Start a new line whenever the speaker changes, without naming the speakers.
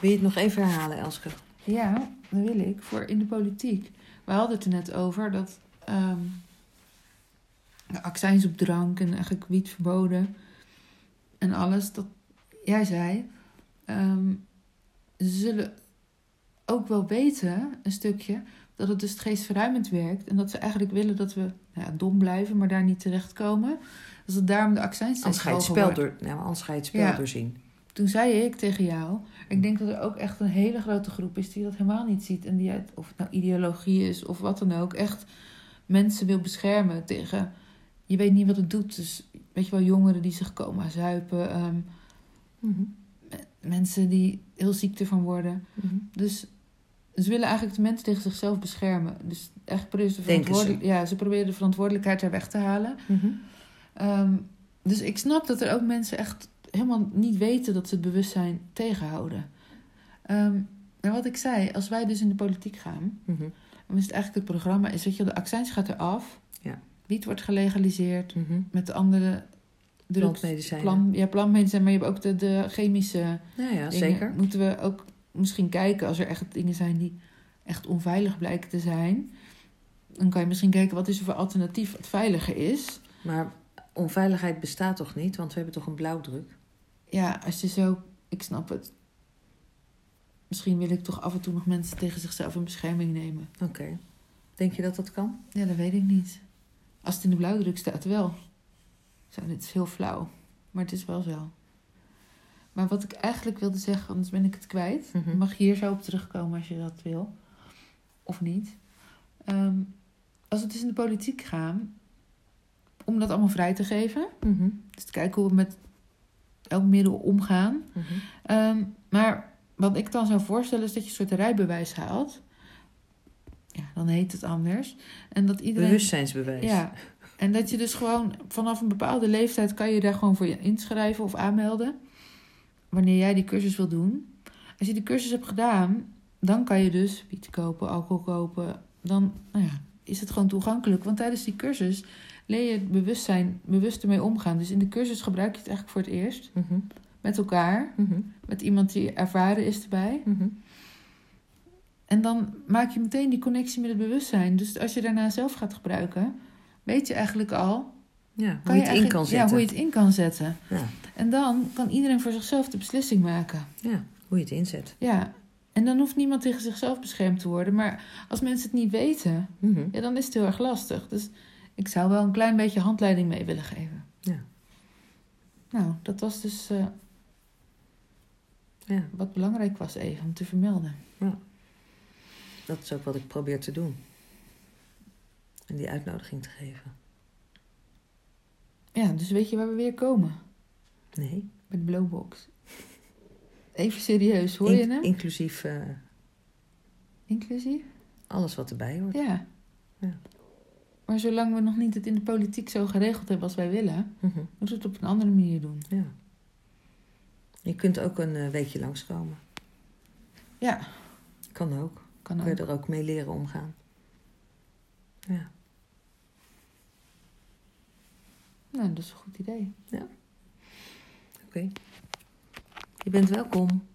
Wil je het nog even herhalen, Elske?
Ja, dat wil ik. Voor in de politiek. We hadden het er net over dat ehm, de accijns op drank en eigenlijk wiet verboden en alles. Dat jij zei, ehm, ze zullen ook wel weten, een stukje, dat het dus het geestverruimend werkt. En dat ze eigenlijk willen dat we nou ja, dom blijven, maar daar niet terechtkomen. Dus dat daarom de accijns steeds
Anders ga je het
hoger
spel,
worden.
door, ja, maar anders ga je het spel
Ja.
doorzien.
Toen zei ik tegen jou,
Mm.
ik denk dat er ook echt een hele grote groep is die dat helemaal niet ziet. En die uit, of het nou ideologie is of wat dan ook, echt mensen wil beschermen tegen... Je weet niet wat het doet. Dus weet je wel, jongeren die zich coma zuipen. ehm, mensen die heel ziek ervan worden. Dus ze willen eigenlijk de mensen tegen zichzelf beschermen. Dus echt proberen ze,
Denken ze.
verantwoordelijk- Ja, ze proberen de verantwoordelijkheid daar weg te halen. Ehm, dus ik snap dat er ook mensen echt helemaal niet weten dat ze het bewustzijn tegenhouden. Ehm, en wat ik zei, als wij dus in de politiek gaan,
Mhm.
dan is het eigenlijk het programma, is dat je de accijns gaat eraf,
Ja.
wiet wordt gelegaliseerd,
Mhm.
met de andere drugs.
Plantmedicijnen.
Plan, ja, plantmedicijnen, maar je hebt ook de, de chemische
Nou ja,
dingen.
zeker.
Moeten we ook misschien kijken als er echt dingen zijn die echt onveilig blijken te zijn. Dan kan je misschien kijken wat is er voor alternatief wat veiliger is.
Maar onveiligheid bestaat toch niet? Want we hebben toch een blauwdruk?
Ja, als je zo. Ik snap het. Misschien wil ik toch af en toe nog mensen tegen zichzelf in bescherming nemen.
Oké. Denk je dat dat kan?
Ja, dat weet ik niet. Als het in de blauwdruk staat, wel. Zo, dit is heel flauw. Maar het is wel zo. Maar wat ik eigenlijk wilde zeggen, anders ben ik het kwijt.
Mhm.
Je mag hier zo op terugkomen als je dat wil. Of niet. Ehm, als we dus in de politiek gaan, om dat allemaal vrij te geven. Dus te kijken hoe we met elk middel omgaan.
Mhm.
Ehm, maar wat ik dan zou voorstellen is dat je een soort rijbewijs haalt. Ja, dan heet het anders. En dat iedereen.
Bewustzijnsbewijs.
Ja. En dat je dus gewoon vanaf een bepaalde leeftijd kan je daar gewoon voor je inschrijven of aanmelden. Wanneer jij die cursus wil doen. Als je die cursus hebt gedaan, dan kan je dus wiet kopen, alcohol kopen. Dan nou ja, is het gewoon toegankelijk. Want tijdens die cursus leer je het bewustzijn, bewust ermee omgaan. Dus in de cursus gebruik je het eigenlijk voor het eerst.
Mhm.
Met elkaar
Mhm.
met iemand die ervaren is erbij.
Mhm.
En dan maak je meteen die connectie met het bewustzijn. Dus als je daarna zelf gaat gebruiken, weet je eigenlijk al
Ja, hoe je het in
eigenlijk-
kan
Ja,
zetten.
hoe je het in kan zetten.
Ja.
En dan kan iedereen voor zichzelf de beslissing maken.
Ja, hoe je het inzet.
Ja. En dan hoeft niemand tegen zichzelf beschermd te worden. Maar als mensen het niet weten,
Mhm.
ja, dan is het heel erg lastig. Dus ik zou wel een klein beetje handleiding mee willen geven.
Ja.
Nou, dat was dus eh,
Ja,
wat belangrijk was even om te vermelden.
dat is ook wat ik probeer te doen. En die uitnodiging te geven.
Ja, dus weet je waar we weer komen?
Nee.
Met Blowbox. Even serieus, hoor je
In-
hem?
Inclusief eh,
Inclusief?
alles wat erbij hoort.
Ja.
Ja.
Maar zolang we nog niet het in de politiek zo geregeld hebben als wij willen,
Mhm.
moeten we het op een andere manier doen.
Ja. Je kunt ook een eh, weekje langskomen.
Ja,
Kan ook.
kan
Kun je
ook.
er ook mee leren omgaan. Ja.
Nou, dat is een goed idee.
Oké. Je bent welkom.